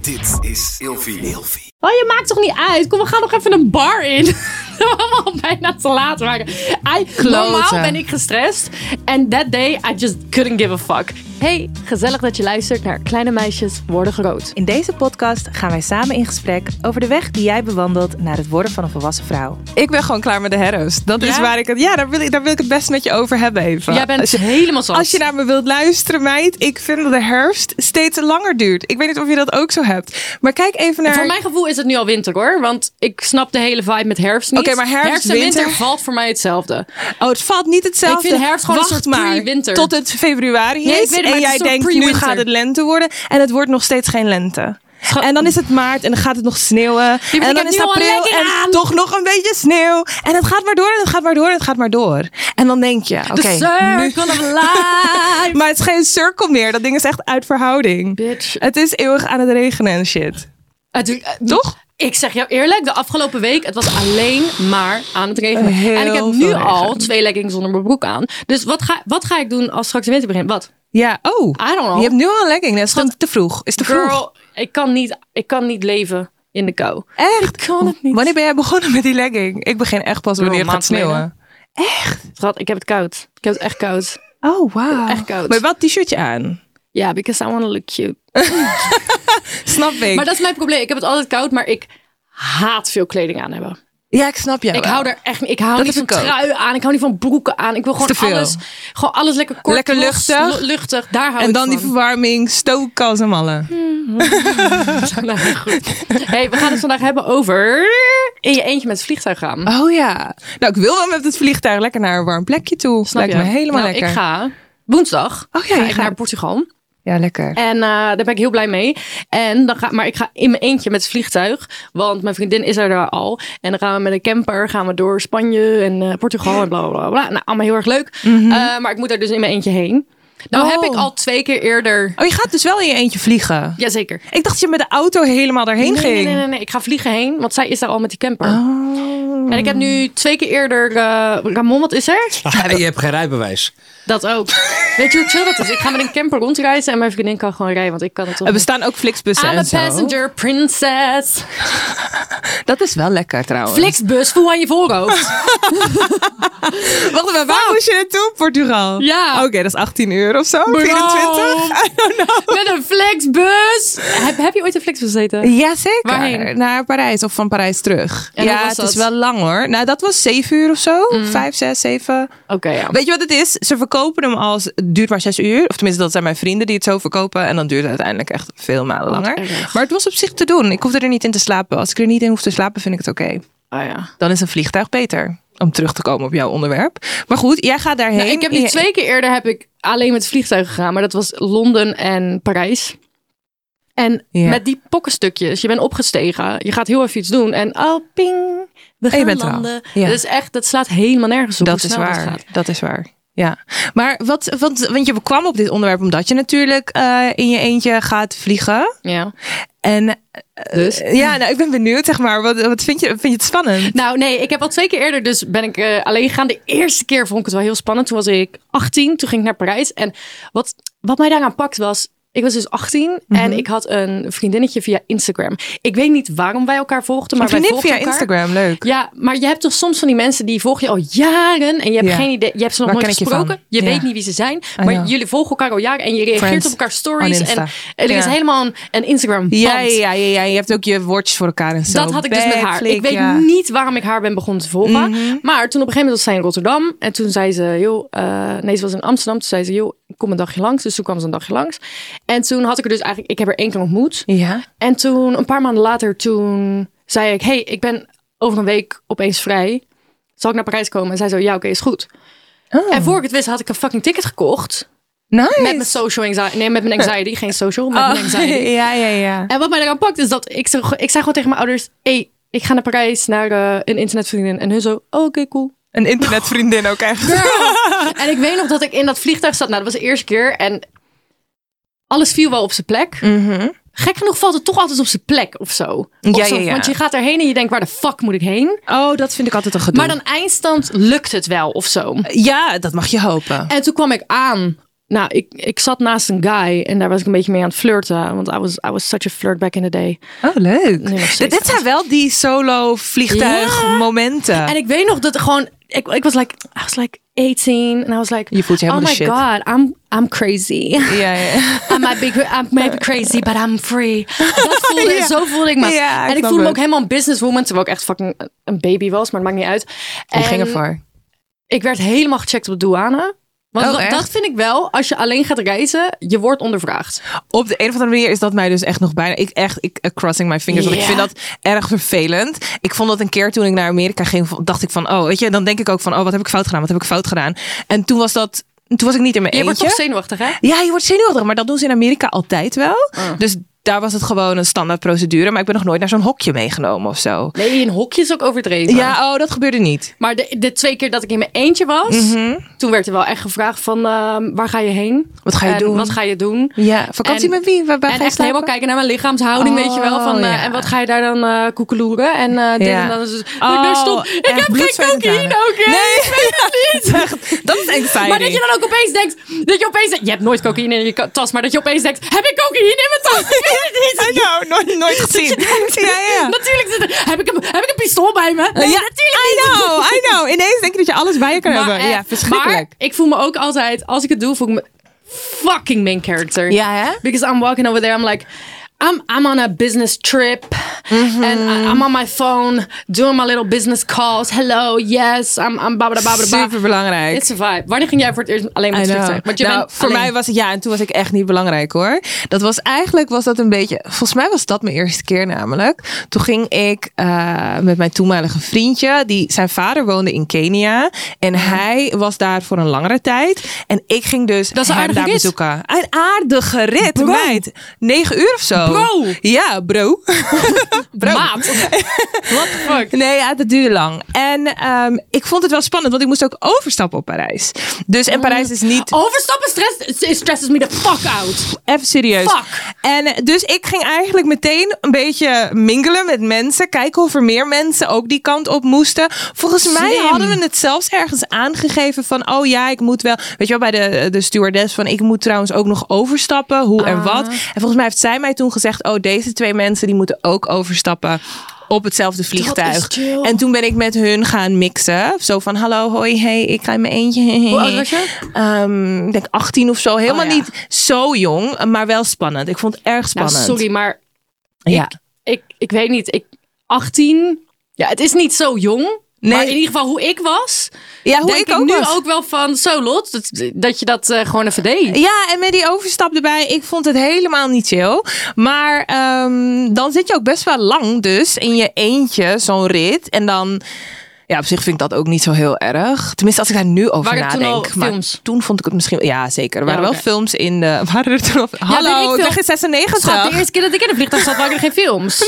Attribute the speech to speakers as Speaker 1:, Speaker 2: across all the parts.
Speaker 1: Dit is Ilvi. Ilvi.
Speaker 2: Oh, je maakt toch niet uit? Kom, we gaan nog even een bar in. Dat we allemaal bijna te laat waren. I, normaal ben ik gestrest. En that day, I just couldn't give a fuck. Hey, gezellig dat je luistert naar Kleine Meisjes Worden Groot.
Speaker 3: In deze podcast gaan wij samen in gesprek over de weg die jij bewandelt naar het worden van een volwassen vrouw. Ik ben gewoon klaar met de herfst. Dat is
Speaker 2: Ja?
Speaker 3: waar ik het. Ja, daar wil ik, daar wil ik het best met je over hebben even.
Speaker 2: Jij bent
Speaker 3: als, je,
Speaker 2: helemaal zat.
Speaker 3: als je naar me wilt luisteren, meid, ik vind dat de herfst steeds langer duurt. Ik weet niet of je dat ook zo hebt. Maar kijk even naar.
Speaker 2: Voor mijn gevoel is het nu al winter hoor. Want ik snap de hele vibe met herfst niet.
Speaker 3: Oké, maar herfst,
Speaker 2: en
Speaker 3: winter-
Speaker 2: winter... valt voor mij hetzelfde.
Speaker 3: Oh, het valt niet hetzelfde.
Speaker 2: Ik vind herfst gewoon een
Speaker 3: Wacht
Speaker 2: soort
Speaker 3: maar
Speaker 2: pre-winter.
Speaker 3: Tot het februari
Speaker 2: Nee, ik
Speaker 3: is.
Speaker 2: weet het, maar
Speaker 3: en
Speaker 2: het is
Speaker 3: jij
Speaker 2: een soort
Speaker 3: denkt, nu
Speaker 2: pre-winter.
Speaker 3: gaat het lente worden. En het wordt nog steeds geen lente.
Speaker 2: Schat-
Speaker 3: En dan is het maart en dan gaat het nog sneeuwen.
Speaker 2: ik
Speaker 3: en
Speaker 2: heb
Speaker 3: dan is
Speaker 2: nu al een
Speaker 3: april
Speaker 2: legging
Speaker 3: en
Speaker 2: aan.
Speaker 3: toch nog een beetje sneeuw. En het gaat maar door en het gaat maar door en het gaat maar door. En dan denk je, oké.
Speaker 2: The circle of life.
Speaker 3: maar het is geen cirkel meer. Dat ding is echt uit verhouding.
Speaker 2: Bitch.
Speaker 3: Het is eeuwig aan het regenen en shit.
Speaker 2: Het- eh,
Speaker 3: Toch?
Speaker 2: Ik zeg jou eerlijk, de afgelopen week, het was alleen maar aan het regenen.
Speaker 3: Heel
Speaker 2: en ik heb nu
Speaker 3: veel regen.
Speaker 2: al twee leggings zonder mijn broek aan. Dus wat ga, wat ga ik doen als straks de winter begint? Wat?
Speaker 3: Ja, oh.
Speaker 2: I don't know.
Speaker 3: Je hebt nu al een legging. Dat is gewoon te vroeg. Is te vroeg.
Speaker 2: Girl, ik kan, niet, ik kan niet leven in de kou.
Speaker 3: Echt?
Speaker 2: Ik kan het niet.
Speaker 3: Wanneer ben jij begonnen met die legging? Ik begin echt pas wanneer het
Speaker 2: een
Speaker 3: gaat
Speaker 2: maand
Speaker 3: sneeuwen.
Speaker 2: Schat, ik heb het koud. Ik heb het echt koud.
Speaker 3: Oh, wow.
Speaker 2: Echt koud.
Speaker 3: Maar wat t-shirtje aan?
Speaker 2: Ja, because I want to look cute.
Speaker 3: Snap ik.
Speaker 2: Maar dat is mijn probleem. Ik heb het altijd koud, maar ik haat veel kleding aan hebben.
Speaker 3: Ja, ik snap jou
Speaker 2: Ik
Speaker 3: wel.
Speaker 2: hou er echt niet. Ik hou
Speaker 3: Dat
Speaker 2: niet van
Speaker 3: heb ik ook.
Speaker 2: trui aan. Ik hou niet van broeken aan. Ik wil
Speaker 3: te
Speaker 2: gewoon
Speaker 3: veel.
Speaker 2: alles, gewoon alles lekker kort.
Speaker 3: Lekker
Speaker 2: los,
Speaker 3: luchtig.
Speaker 2: lu- luchtig. Daar hou
Speaker 3: En
Speaker 2: ik
Speaker 3: dan
Speaker 2: van. Hm.
Speaker 3: die verwarming, stoken als een malle.
Speaker 2: Nou, goed. Hey, we gaan het vandaag hebben over in je eentje met het vliegtuig gaan.
Speaker 3: Oh ja. Nou, ik wil wel met het vliegtuig lekker naar een warm plekje toe.
Speaker 2: Snap
Speaker 3: Lijkt
Speaker 2: je?
Speaker 3: me helemaal
Speaker 2: Nou,
Speaker 3: lekker.
Speaker 2: Ik ga woensdag
Speaker 3: Oh ja,
Speaker 2: ga
Speaker 3: je
Speaker 2: ik
Speaker 3: gaat.
Speaker 2: naar Portugal.
Speaker 3: Ja, lekker.
Speaker 2: En eh, daar ben ik heel blij mee. En dan ga, maar ik ga in mijn eentje met het vliegtuig. Want mijn vriendin is er daar al. En dan gaan we met een camper gaan we door Spanje en eh, Portugal en bla bla bla. bla. Nou, allemaal heel erg leuk. Eh, maar ik moet daar dus in mijn eentje heen. Nou
Speaker 3: Mhm. Oh.
Speaker 2: heb ik al twee keer eerder...
Speaker 3: Oh, je gaat dus wel in je eentje vliegen?
Speaker 2: Jazeker.
Speaker 3: Ik dacht dat je met de auto helemaal daarheen
Speaker 2: Nee,
Speaker 3: ging.
Speaker 2: nee, nee, nee, nee. Ik ga vliegen heen, want zij is daar al met die camper.
Speaker 3: Oh.
Speaker 2: En ik heb nu twee keer eerder... eh, Ramon, wat is er?
Speaker 4: je hebt geen rijbewijs.
Speaker 2: Dat ook. Weet je hoe chill dat is? Ik ga met een camper rondreizen en mijn vriendin kan gewoon rijden, want ik kan het toch
Speaker 3: Er
Speaker 2: niet.
Speaker 3: bestaan ook flixbussen
Speaker 2: I'm a
Speaker 3: en zo.
Speaker 2: passenger princess.
Speaker 3: Dat is wel lekker trouwens.
Speaker 2: Flixbus, voel aan je voorhoofd.
Speaker 3: Wacht even, waar moest je naartoe? Portugal?
Speaker 2: Ja.
Speaker 3: Oké, dat is 18 uur of zo.
Speaker 2: Bro.
Speaker 3: 24? I don't know.
Speaker 2: Met een flexbus. Heb, heb je ooit een flexbus gezeten?
Speaker 3: Ja, zeker.
Speaker 2: Waarheen?
Speaker 3: Naar Parijs of van Parijs terug.
Speaker 2: En hoe
Speaker 3: ja,
Speaker 2: was
Speaker 3: het
Speaker 2: dat? Mm.
Speaker 3: is wel lang hoor. Nou, dat was 7 uur of zo. 5, 6, 7.
Speaker 2: Oké, ja.
Speaker 3: Weet je wat het is? Ze verkopen hem als het duurt maar 6 uur. Of tenminste, dat zijn mijn vrienden die het zo verkopen. En dan duurt het uiteindelijk echt veel malen langer.
Speaker 2: erg.
Speaker 3: Maar het was op zich te doen. Ik hoefde er niet in te slapen. Als ik er niet in hoef te slapen, vind ik het oké.
Speaker 2: Ah, ja.
Speaker 3: Dan is een vliegtuig beter. Om terug te komen op jouw onderwerp. Maar goed, jij gaat daarheen.
Speaker 2: Nou, ik heb nu
Speaker 3: Je-
Speaker 2: twee keer eerder heb ik alleen met vliegtuigen gegaan, maar dat was Londen en Parijs. En
Speaker 3: Ja.
Speaker 2: met die pokkenstukjes, je bent opgestegen, je gaat heel even iets doen en oh ping, we gaan
Speaker 3: je bent er al.
Speaker 2: landen.
Speaker 3: Ja.
Speaker 2: Dat is echt, dat slaat helemaal nergens op.
Speaker 3: Dat
Speaker 2: hoe
Speaker 3: is
Speaker 2: snel dat
Speaker 3: waar.
Speaker 2: gaat.
Speaker 3: Dat is waar. Ja, maar wat, want, want je kwam op dit onderwerp omdat je natuurlijk eh, in je eentje gaat vliegen.
Speaker 2: Ja.
Speaker 3: En eh,
Speaker 2: Dus?
Speaker 3: ja, nou, ik ben benieuwd, zeg maar. Wat, wat vind, je, vind je het spannend?
Speaker 2: Nou, nee, ik heb al twee keer eerder, dus ben ik eh, alleen gegaan. De eerste keer vond ik het wel heel spannend. Toen was ik 18, toen ging ik naar Parijs. En wat, wat mij daaraan pakt was, ik was dus 18 en
Speaker 3: Mhm.
Speaker 2: ik had een vriendinnetje via Instagram. Ik weet niet waarom wij elkaar volgden, maar
Speaker 3: Maar
Speaker 2: wij
Speaker 3: vriendin
Speaker 2: volgden
Speaker 3: via
Speaker 2: elkaar.
Speaker 3: Instagram, leuk.
Speaker 2: Ja, maar je hebt toch soms van die mensen die volg je al jaren en je hebt
Speaker 3: Ja.
Speaker 2: geen idee, je hebt ze nog
Speaker 3: Waar
Speaker 2: nooit
Speaker 3: ken ik je van?
Speaker 2: gesproken, je,
Speaker 3: Ja.
Speaker 2: weet niet wie ze zijn, maar
Speaker 3: know.
Speaker 2: jullie volgen elkaar al jaren en je reageert
Speaker 3: Friends
Speaker 2: op elkaar
Speaker 3: on
Speaker 2: stories
Speaker 3: Insta.
Speaker 2: en er is
Speaker 3: Ja.
Speaker 2: helemaal een, een Instagram band.
Speaker 3: Ja, ja, ja, ja, je hebt ook je woordjes voor elkaar en zo.
Speaker 2: Dat had ik dus met haar.
Speaker 3: Backflip,
Speaker 2: ik weet
Speaker 3: ja.
Speaker 2: niet waarom ik haar ben begonnen te volgen.
Speaker 3: Mhm.
Speaker 2: Maar toen op een gegeven moment was zij in Rotterdam. En toen zei ze, joh, eh, nee, ze was in Amsterdam. Toen zei ze, joh, kom een dagje langs. Dus toen kwam ze een dagje langs. En toen had ik er dus eigenlijk, ik heb er één keer ontmoet.
Speaker 3: Ja.
Speaker 2: En toen, een paar maanden later, toen zei ik, hey, ik ben over een week opeens vrij. Zal ik naar Parijs komen? En zij zo, ja, oké, is goed.
Speaker 3: Oh,
Speaker 2: En voor ik het wist, had ik een fucking ticket gekocht.
Speaker 3: nice.
Speaker 2: Met mijn social anxiety. Nee, met mijn anxiety. Geen social, met mijn
Speaker 3: Oh,
Speaker 2: anxiety.
Speaker 3: ja, ja, ja.
Speaker 2: En wat mij eraan pakt is dat ik, zo, ik zei gewoon tegen mijn ouders: hey, ik ga naar Parijs naar eh, een internetvriendin. En hun zo: oh, oké, cool.
Speaker 3: Een internetvriendin ook echt. Ah.
Speaker 2: en ik weet nog dat ik in dat vliegtuig zat. Nou, dat was de eerste keer. En alles viel wel op zijn plek.
Speaker 3: Mhm.
Speaker 2: Gek genoeg valt het toch altijd op zijn plek of zo. Of
Speaker 3: Ja,
Speaker 2: zo,
Speaker 3: ja, ja.
Speaker 2: Want je gaat erheen en je denkt: waar de fuck moet ik heen?
Speaker 3: Oh, dat vind ik altijd een gedoe.
Speaker 2: Maar dan eindstand lukt het wel of zo.
Speaker 3: ja, dat mag je hopen.
Speaker 2: En toen kwam ik aan nou, ik, ik zat naast een guy en daar was ik een beetje mee aan het flirten. Want I was, I was such a flirt back in the day.
Speaker 3: Oh, leuk.
Speaker 2: nog steeds
Speaker 3: dit, dit zijn wel die solo vliegtuigmomenten.
Speaker 2: En ik weet nog dat gewoon, ik, ik was like, I was like 18. En I was like,
Speaker 3: Je voelt je
Speaker 2: oh my
Speaker 3: helemaal de shit.
Speaker 2: god, I'm, I'm crazy.
Speaker 3: Ja, ja.
Speaker 2: I might be, I might be crazy, but I'm free. Dat voelde,
Speaker 3: Ja.
Speaker 2: Zo voelde ik me.
Speaker 3: Ja, ik
Speaker 2: en ik
Speaker 3: snap
Speaker 2: voelde me
Speaker 3: het.
Speaker 2: ook helemaal een businesswoman, terwijl ik echt fucking een baby was, maar dat maakt niet uit.
Speaker 3: Ik ging
Speaker 2: En
Speaker 3: ervoor.
Speaker 2: Ik werd helemaal gecheckt op de douane. Want
Speaker 3: Oh,
Speaker 2: dat-
Speaker 3: echt?
Speaker 2: dat vind ik wel, als je alleen gaat reizen, je wordt ondervraagd.
Speaker 3: Op de een of andere manier is dat mij dus echt nog bijna. Ik echt, ik eh, crossing my fingers. Want
Speaker 2: Ja.
Speaker 3: ik vind dat erg vervelend. Ik vond dat een keer toen ik naar Amerika ging, vond- dacht ik van, oh, weet je, dan denk ik ook van, oh, wat heb ik fout gedaan? Wat heb ik fout gedaan? En toen was dat, toen was ik niet in mijn
Speaker 2: Je wordt
Speaker 3: eentje.
Speaker 2: toch zenuwachtig, hè?
Speaker 3: Ja, je wordt zenuwachtig, maar dat doen ze in Amerika altijd wel.
Speaker 2: Ah.
Speaker 3: Dus daar was het gewoon een standaard procedure. Maar ik ben nog nooit naar zo'n hokje meegenomen of zo.
Speaker 2: Nee, in hokjes ook overdreven.
Speaker 3: Ja, oh, dat gebeurde niet.
Speaker 2: Maar de, de twee keer dat ik in mijn eentje was, toen werd er wel echt gevraagd van ehm, waar ga je heen?
Speaker 3: Mhm. Wat ga je
Speaker 2: En
Speaker 3: doen?
Speaker 2: Wat ga je doen?
Speaker 3: Ja, vakantie
Speaker 2: En-
Speaker 3: met wie? Waar, waar
Speaker 2: en
Speaker 3: ga je
Speaker 2: echt
Speaker 3: slapen?
Speaker 2: helemaal kijken naar mijn lichaamshouding, weet je wel. Van,
Speaker 3: Oh,
Speaker 2: eh,
Speaker 3: ja.
Speaker 2: en wat ga je daar dan eh, koekeloeren? En eh, dit
Speaker 3: Ja.
Speaker 2: en dat. Dus, Maar daar
Speaker 3: Oh,
Speaker 2: stond, ik
Speaker 3: echt
Speaker 2: heb
Speaker 3: bloed,
Speaker 2: geen
Speaker 3: zweet en
Speaker 2: cocaïne,
Speaker 3: tranen.
Speaker 2: oké?
Speaker 3: Nee.
Speaker 2: Ik weet het niet.
Speaker 3: Echt, dat is exciting.
Speaker 2: Maar dat je dan ook opeens denkt, dat je opeens denkt, je hebt nooit cocaïne in je ka- tas, maar dat je opeens denkt, heb ik cocaïne in mijn tas? Ik weet het niet.
Speaker 3: Nou, nooit, nooit gezien. Ja, ja.
Speaker 2: Natuurlijk zit er, heb ik, een, heb ik een pistool bij me? Nee,
Speaker 3: Ja,
Speaker 2: natuurlijk
Speaker 3: I
Speaker 2: niet.
Speaker 3: know, I know. Ineens denk je dat je alles bij je kan
Speaker 2: Maar,
Speaker 3: hebben.
Speaker 2: eh,
Speaker 3: Ja, verschrikkelijk.
Speaker 2: Maar ik voel me ook altijd, als ik het doe, voel ik me fucking main character.
Speaker 3: Ja, hè?
Speaker 2: Because I'm walking over there, I'm like, I'm, I'm on a business trip.
Speaker 3: Mhm.
Speaker 2: And I- I'm on my phone, doing my little business calls. Hello, yes, I'm, I'm blah, blah, blah, blah, blah.
Speaker 3: Super belangrijk.
Speaker 2: It's a vibe. Wanneer ging jij voor het eerst alleen met
Speaker 3: I know.
Speaker 2: vliegtuig? Want je
Speaker 3: nou,
Speaker 2: bent
Speaker 3: voor
Speaker 2: alleen.
Speaker 3: mij was het ja, en toen was ik echt niet belangrijk hoor. Dat was eigenlijk was dat een beetje. Volgens mij was dat mijn eerste keer namelijk. Toen ging ik eh, met mijn toenmalige vriendje. Die, zijn vader woonde in Kenia en hij was daar voor een langere tijd. En ik ging dus
Speaker 2: Dat is een
Speaker 3: hem
Speaker 2: aardige
Speaker 3: daar
Speaker 2: rit.
Speaker 3: bezoeken. Een aardige rit, meid. Negen uur of zo.
Speaker 2: Bro.
Speaker 3: Ja, bro. bro.
Speaker 2: Maat. What the fuck?
Speaker 3: Nee, ja, dat duurde lang. En ehm, ik vond het wel spannend, want ik moest ook overstappen op Parijs. Dus
Speaker 2: Oh.
Speaker 3: en Parijs is niet
Speaker 2: Overstappen stress, stresses me the fuck out.
Speaker 3: Even serieus.
Speaker 2: Fuck.
Speaker 3: En dus ik ging eigenlijk meteen een beetje mingelen met mensen. Kijken of er meer mensen ook die kant op moesten. Volgens mij
Speaker 2: Slim.
Speaker 3: hadden we het zelfs ergens aangegeven van... oh ja, ik moet wel... Weet je wel, bij de, de stewardess van... ik moet trouwens ook nog overstappen. Hoe
Speaker 2: Ah.
Speaker 3: en wat. En volgens mij heeft zij mij toen gezegd... oh, deze twee mensen die moeten ook overstappen... Op hetzelfde vliegtuig.
Speaker 2: chill.
Speaker 3: En toen ben ik met hun gaan mixen. Zo van: hallo, hoi, hey, ik ga in mijn eentje. Hoe
Speaker 2: oud was je?
Speaker 3: Ehm, ik denk 18 of zo. Helemaal
Speaker 2: Oh, ja.
Speaker 3: niet zo jong, maar wel spannend. Ik vond het erg
Speaker 2: Nou,
Speaker 3: spannend.
Speaker 2: sorry, maar
Speaker 3: Ja.
Speaker 2: ik, ik weet niet. Ik, 18. Ja, het is niet zo jong.
Speaker 3: Nee.
Speaker 2: Maar in ieder geval hoe ik was.
Speaker 3: ja, hoe
Speaker 2: denk
Speaker 3: ik ook
Speaker 2: nu
Speaker 3: was.
Speaker 2: ook wel van, zo Lot, dat, dat je dat eh, gewoon even deed.
Speaker 3: Ja, en met die overstap erbij, ik vond het helemaal niet chill. Maar ehm, dan zit je ook best wel lang dus in je eentje zo'n rit. En dan, ja, op zich vind ik dat ook niet zo heel erg. Tenminste, als ik daar nu over
Speaker 2: Waren er toen
Speaker 3: nadenk.
Speaker 2: al
Speaker 3: maar
Speaker 2: films?
Speaker 3: toen vond ik het misschien, ja zeker. Er waren
Speaker 2: Ja,
Speaker 3: wel
Speaker 2: oké.
Speaker 3: films in de, waren er toen al,
Speaker 2: weet ik
Speaker 3: hallo,
Speaker 2: veel.
Speaker 3: ik zeg in 96.
Speaker 2: Schat, de eerste keer dat ik in een vliegtuig zat, waren er geen films.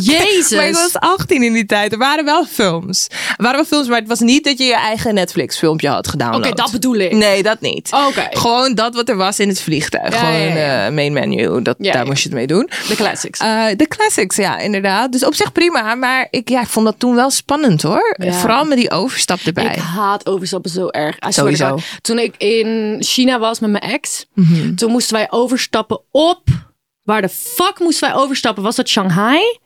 Speaker 2: Jezus.
Speaker 3: Maar ik was 18 in die tijd. Er waren wel films. Er waren wel films, maar het was niet dat je je eigen Netflix filmpje had gedownload.
Speaker 2: Oké, dat bedoel ik. Oh,
Speaker 3: Nee, dat niet.
Speaker 2: Oké.
Speaker 3: Gewoon dat wat er was in het vliegtuig.
Speaker 2: Ja,
Speaker 3: Gewoon
Speaker 2: ja, ja.
Speaker 3: eh, main menu. Dat,
Speaker 2: Ja,
Speaker 3: daar
Speaker 2: ja.
Speaker 3: moest je het mee doen.
Speaker 2: De classics.
Speaker 3: Eh, de classics, ja, inderdaad. Dus op zich prima. Maar ik, ja, ik vond dat toen wel spannend hoor.
Speaker 2: Ja.
Speaker 3: Vooral met die overstap erbij.
Speaker 2: Ik haat overstappen zo erg. I swear to
Speaker 3: Sowieso.
Speaker 2: God. Toen ik in China was met mijn ex,
Speaker 3: Mhm.
Speaker 2: toen moesten wij overstappen op. Waar de fuck moesten wij overstappen? Was dat Shanghai?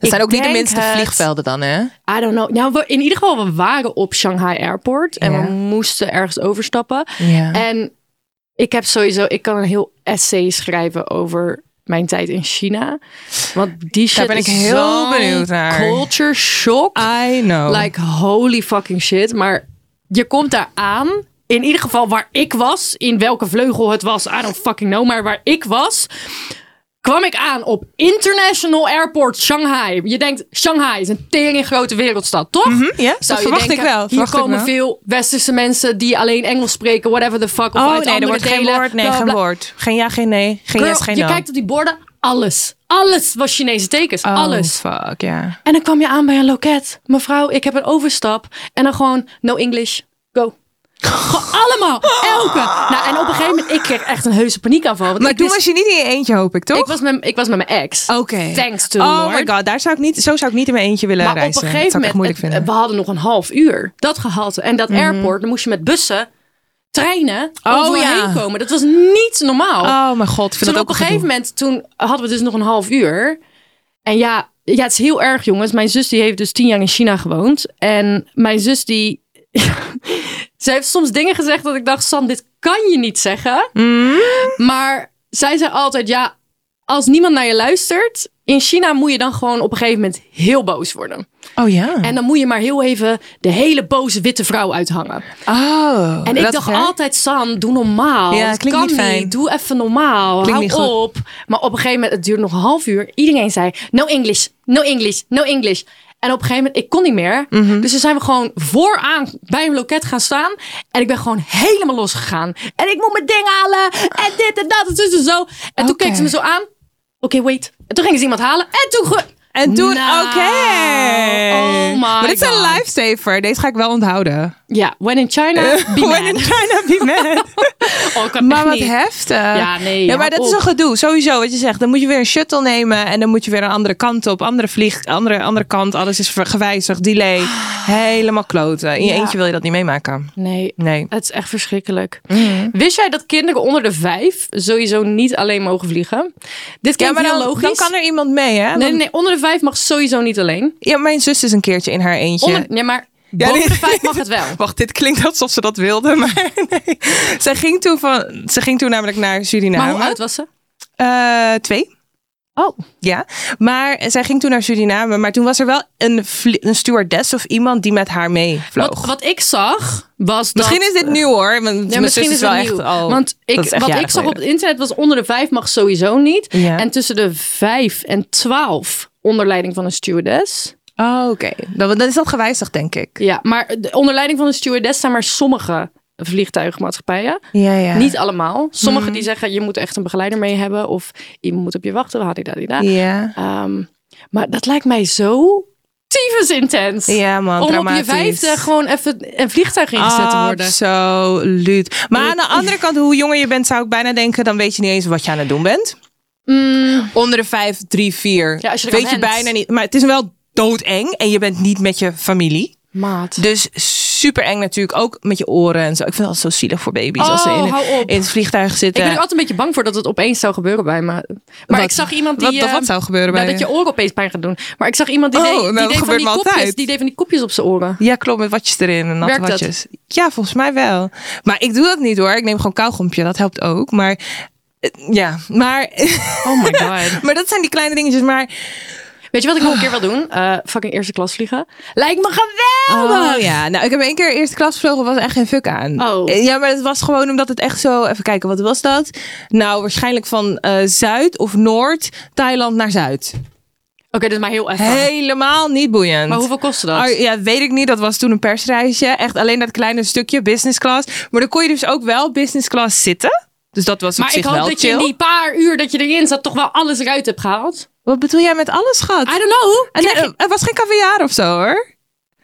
Speaker 3: dat zijn ook niet de minste
Speaker 2: vliegvelden.
Speaker 3: vliegvelden dan, hè?
Speaker 2: I don't know. Nou, we- in ieder geval, we waren op Shanghai Airport en
Speaker 3: Ja.
Speaker 2: we moesten ergens overstappen.
Speaker 3: Ja.
Speaker 2: En ik heb sowieso, ik kan een heel essay schrijven over mijn tijd in China. Want die shit
Speaker 3: ben ik
Speaker 2: is
Speaker 3: heel
Speaker 2: zo'n
Speaker 3: benieuwd naar. Ah,
Speaker 2: Culture shock.
Speaker 3: I know.
Speaker 2: Like holy fucking shit. Maar je komt daar aan. In ieder geval waar ik was. In welke vleugel het was. I don't fucking know. Maar waar ik was. Kwam ik aan op International Airport Shanghai. Je denkt, Shanghai is een tering grote wereldstad, toch?
Speaker 3: Mhm, ja, dat
Speaker 2: Zou je
Speaker 3: verwacht ik
Speaker 2: denken,
Speaker 3: wel,
Speaker 2: Hier
Speaker 3: verwacht ik
Speaker 2: komen
Speaker 3: wel.
Speaker 2: veel westerse mensen die alleen Engels spreken, whatever the fuck. Of
Speaker 3: oh
Speaker 2: uit
Speaker 3: nee,
Speaker 2: andere
Speaker 3: er wordt
Speaker 2: delen,
Speaker 3: geen woord. Nee,
Speaker 2: bla,
Speaker 3: geen
Speaker 2: bla.
Speaker 3: woord. Geen ja, geen nee. Geen
Speaker 2: Girl,
Speaker 3: yes, geen
Speaker 2: je
Speaker 3: no.
Speaker 2: kijkt op die borden, alles. Alles was Chinese tekens.
Speaker 3: Oh,
Speaker 2: alles.
Speaker 3: fuck, ja.
Speaker 2: En dan kwam je aan bij een loket. Mevrouw, ik heb een overstap. En dan gewoon, no English, go. Gewoon allemaal, elke. Nou, en op een gegeven moment, ik kreeg echt een heuse paniekaanval. Want
Speaker 3: Maar
Speaker 2: ik,
Speaker 3: toen
Speaker 2: wist-
Speaker 3: was je niet in je eentje, hoop ik, toch?
Speaker 2: ik, was met, ik was met mijn ex.
Speaker 3: Oké.
Speaker 2: Thanks to the
Speaker 3: Oh
Speaker 2: Lord.
Speaker 3: my god, daar zou ik niet, zo zou ik niet in mijn eentje willen
Speaker 2: Maar
Speaker 3: reizen.
Speaker 2: op een gegeven
Speaker 3: dat zou ik
Speaker 2: moment,
Speaker 3: echt moeilijk
Speaker 2: het-
Speaker 3: vinden.
Speaker 2: we hadden nog een half uur. Dat gehalte. En dat airport, dan moest je met bussen. treinen
Speaker 3: Oh,
Speaker 2: overheen
Speaker 3: ja.
Speaker 2: komen. Dat was niet normaal.
Speaker 3: Oh mijn god, ik vind
Speaker 2: toen
Speaker 3: dat
Speaker 2: op
Speaker 3: ook
Speaker 2: een gegeven
Speaker 3: gedoe.
Speaker 2: moment, toen hadden we dus nog een half uur. En ja, ja, het is heel erg jongens. Mijn zus die heeft dus tien jaar in China gewoond. En mijn zus die... Ze heeft soms dingen gezegd dat ik dacht, San, dit kan je niet zeggen.
Speaker 3: Mm.
Speaker 2: Maar zij zei altijd, ja, als niemand naar je luistert... In China moet je dan gewoon op een gegeven moment heel boos worden.
Speaker 3: Mm. Oh ja.
Speaker 2: En dan moet je maar heel even de hele boze witte vrouw uithangen.
Speaker 3: oh,
Speaker 2: En ik
Speaker 3: dat
Speaker 2: dacht
Speaker 3: is erg.
Speaker 2: altijd, San, doe normaal.
Speaker 3: Ja,
Speaker 2: Dat
Speaker 3: klinkt
Speaker 2: kan
Speaker 3: niet fijn.
Speaker 2: Doe even normaal.
Speaker 3: Klinkt niet goed.
Speaker 2: Hou op. Maar op een gegeven moment, het duurde nog een half uur. Iedereen zei, no English, no English, no English. En op een gegeven moment, ik kon niet meer.
Speaker 3: Mhm.
Speaker 2: Dus toen zijn we gewoon vooraan bij een loket gaan staan. En ik ben gewoon helemaal losgegaan. En ik moet mijn ding halen. En dit en dat en zus en zo. En toen
Speaker 3: Oké.
Speaker 2: keek ze me zo aan. Oké, wait. En toen gingen ze iemand halen. En toen... ge-
Speaker 3: En toen,
Speaker 2: Nou,
Speaker 3: oké.
Speaker 2: Oh my
Speaker 3: maar dit is een
Speaker 2: God.
Speaker 3: lifesaver. Deze ga ik wel onthouden.
Speaker 2: Ja, when in China, be
Speaker 3: When in
Speaker 2: mad.
Speaker 3: China, be mad.
Speaker 2: Oh, ik kan
Speaker 3: maar
Speaker 2: echt
Speaker 3: wat
Speaker 2: niet.
Speaker 3: heftig.
Speaker 2: Ja, nee,
Speaker 3: Ja, maar
Speaker 2: hou
Speaker 3: dat is
Speaker 2: op.
Speaker 3: een gedoe. Sowieso, wat je zegt. Dan moet je weer een shuttle nemen. En dan moet je weer een andere kant op. Andere vlieg, andere, andere kant. Alles is ver- gewijzigd. Delay. Helemaal kloten. In je
Speaker 2: Ja.
Speaker 3: eentje wil je dat niet meemaken.
Speaker 2: Nee,
Speaker 3: Nee. Mhm.
Speaker 2: Het is echt verschrikkelijk. Wist jij dat kinderen onder de vijf sowieso niet alleen mogen vliegen? Dit klinkt
Speaker 3: maar
Speaker 2: heel
Speaker 3: dan,
Speaker 2: logisch.
Speaker 3: dan kan er iemand mee, hè?
Speaker 2: Nee,
Speaker 3: Want-
Speaker 2: nee, nee, onder de vijf mag sowieso niet alleen.
Speaker 3: Ja, mijn zus is een keertje in haar eentje.
Speaker 2: Onder, nee, maar
Speaker 3: Ja,
Speaker 2: boven
Speaker 3: nee.
Speaker 2: de vijf mag het wel.
Speaker 3: Wacht, dit klinkt alsof ze dat wilde, maar nee. Zij ging toen, van, ze ging toen namelijk naar Suriname.
Speaker 2: Maar hoe oud was ze?
Speaker 3: Eh, twee.
Speaker 2: Oh,
Speaker 3: Ja, maar zij ging toen naar Suriname. Maar toen was er wel een, vlie- een stewardess of iemand die met haar mee vloog.
Speaker 2: wat, wat ik zag was dat...
Speaker 3: misschien is dit nieuw hoor. want mijn
Speaker 2: Ja,
Speaker 3: zus
Speaker 2: misschien is
Speaker 3: wel
Speaker 2: het nieuw.
Speaker 3: echt al.
Speaker 2: Want ik,
Speaker 3: dat is echt
Speaker 2: wat
Speaker 3: jaren
Speaker 2: ik zag op het
Speaker 3: geleden.
Speaker 2: internet was onder de vijf mag sowieso niet.
Speaker 3: Ja.
Speaker 2: En tussen de vijf en twaalf onder leiding van een stewardess.
Speaker 3: Oh, oké. Dan, dan is dat gewijzigd, denk ik.
Speaker 2: Ja, maar de- onder leiding van een stewardess zijn maar sommige vliegtuigmaatschappijen.
Speaker 3: Ja, ja. Mhm.
Speaker 2: Niet allemaal. Sommigen die zeggen je moet echt een begeleider mee hebben of iemand moet op je wachten. Hadidadida.
Speaker 3: Ja.
Speaker 2: Ehm, maar dat lijkt mij zo tyfus intens.
Speaker 3: Ja, man.
Speaker 2: Om op je
Speaker 3: dramatisch.
Speaker 2: vijfde gewoon even een vliegtuig ingezet te worden.
Speaker 3: Absoluut. Maar aan de andere kant, hoe jonger je bent, zou ik bijna denken, dan weet je niet eens wat je aan het doen bent. Onder de 5, 3, 4.
Speaker 2: Mm. Ja, als je er
Speaker 3: weet
Speaker 2: aan
Speaker 3: je
Speaker 2: bent.
Speaker 3: bijna niet. Maar het is wel doodeng en je bent niet met je familie.
Speaker 2: Maat.
Speaker 3: Dus super eng natuurlijk, ook met je oren en zo. Ik vind dat zo zielig voor baby's als ze
Speaker 2: Oh,
Speaker 3: in,
Speaker 2: hou op.
Speaker 3: in het vliegtuig
Speaker 2: ik
Speaker 3: zitten.
Speaker 2: ben ook altijd een beetje bang voor dat het opeens zou gebeuren bij me. Maar
Speaker 3: Wat?
Speaker 2: ik zag iemand die...
Speaker 3: Wat- wat-
Speaker 2: eh,
Speaker 3: wat zou gebeuren
Speaker 2: nou,
Speaker 3: bij
Speaker 2: Dat
Speaker 3: je?
Speaker 2: je oren opeens pijn gaat doen. Maar ik zag iemand die,
Speaker 3: Oh,
Speaker 2: deed,
Speaker 3: nou,
Speaker 2: die,
Speaker 3: dat
Speaker 2: deed van
Speaker 3: gebeurt
Speaker 2: die
Speaker 3: me
Speaker 2: kopjes,
Speaker 3: altijd.
Speaker 2: die deed van die kopjes op zijn oren.
Speaker 3: Ja, klopt, met watjes erin en natte
Speaker 2: Werkt dat?
Speaker 3: watjes. Ja, volgens mij wel. Maar ik doe dat niet hoor. Ik neem gewoon kauwgompje, dat helpt ook. Maar eh, ja, maar,
Speaker 2: Oh my god.
Speaker 3: maar dat zijn die kleine dingetjes. Maar
Speaker 2: Weet je wat ik nog een keer wil doen? Eh, fucking eerste klas vliegen. Lijkt me geweldig!
Speaker 3: Oh ja, nou ik heb één keer eerste klas gevlogen, was echt geen fuck aan.
Speaker 2: Oh.
Speaker 3: Eh, Ja, maar het was gewoon omdat het echt zo, even kijken, wat was dat? Nou, waarschijnlijk van eh, Zuid of Noord, Thailand naar Zuid.
Speaker 2: Oké, dit is maar heel even.
Speaker 3: Helemaal niet boeiend.
Speaker 2: Oh. Maar hoeveel kostte dat?
Speaker 3: Ah, ja, weet ik niet. Dat was toen een persreisje. Echt alleen dat kleine stukje business class. Maar dan kon je dus ook wel business class zitten. Dus dat was op
Speaker 2: maar ik
Speaker 3: zich
Speaker 2: hoop
Speaker 3: wel
Speaker 2: dat
Speaker 3: chill.
Speaker 2: je in die paar uur dat je erin zat toch wel alles eruit hebt gehaald.
Speaker 3: Wat bedoel jij met alles, schat?
Speaker 2: I don't know.
Speaker 3: En
Speaker 2: Krijg
Speaker 3: eh,
Speaker 2: je-
Speaker 3: het was geen kaviaar of zo, hoor.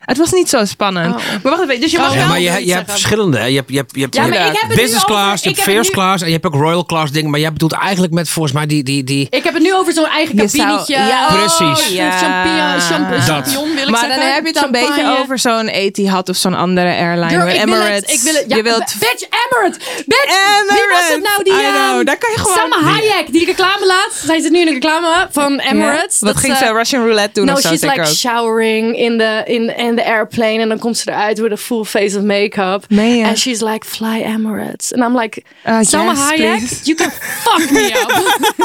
Speaker 3: Het was niet zo spannend.
Speaker 2: Oh.
Speaker 3: Maar wacht even. Dus je mag
Speaker 2: Oh,
Speaker 1: Ja,
Speaker 3: wel
Speaker 1: maar je,
Speaker 2: wil
Speaker 1: je
Speaker 2: iets
Speaker 1: hebt
Speaker 2: zeggen.
Speaker 1: verschillende. hè. Je hebt, je hebt, je hebt,
Speaker 2: Ja,
Speaker 1: je
Speaker 2: maar
Speaker 1: hebt
Speaker 2: ik heb het nu
Speaker 1: business
Speaker 2: over-
Speaker 1: class, je
Speaker 2: ik heb
Speaker 1: hebt
Speaker 2: het
Speaker 1: first
Speaker 2: nu-
Speaker 1: class en je hebt ook royal class dingen. Maar jij bedoelt eigenlijk met volgens mij die... die, die
Speaker 2: Ik heb het nu over zo'n eigen
Speaker 3: Je zou-
Speaker 2: kabinetje.
Speaker 3: ja,
Speaker 1: Precies.
Speaker 2: Een
Speaker 3: ja.
Speaker 2: champignon, champ- champignon wil ik
Speaker 3: Maar dan
Speaker 2: zeggen.
Speaker 3: heb je het dan
Speaker 2: Champagne.
Speaker 3: beter over zo'n Etihad of zo'n andere airline.
Speaker 2: Girl,
Speaker 3: hoor.
Speaker 2: ik wil het.
Speaker 3: Emirates.
Speaker 2: Ik wil het. Ja,
Speaker 3: je wilt...
Speaker 2: Bitch, Emirates. Bitch. Wie was het nou die...
Speaker 3: I know,
Speaker 2: ehm,
Speaker 3: daar kan je gewoon-
Speaker 2: Salma Hayek, die reclame laat. Zij zit nu in de reclame van Emirates.
Speaker 3: Wat
Speaker 2: Dat eh,
Speaker 3: ging
Speaker 2: ze-
Speaker 3: ze Russian roulette doen
Speaker 2: No,
Speaker 3: of zo?
Speaker 2: she's
Speaker 3: zeker
Speaker 2: like
Speaker 3: ook?
Speaker 2: showering in the in in the airplane, en dan komt ze eruit with a full face of makeup.
Speaker 3: Meen je?
Speaker 2: And she's like, "Fly Emirates," and I'm like,
Speaker 3: Uh,
Speaker 2: "Salma
Speaker 3: yes,
Speaker 2: Hayek,
Speaker 3: please."
Speaker 2: you can fuck me up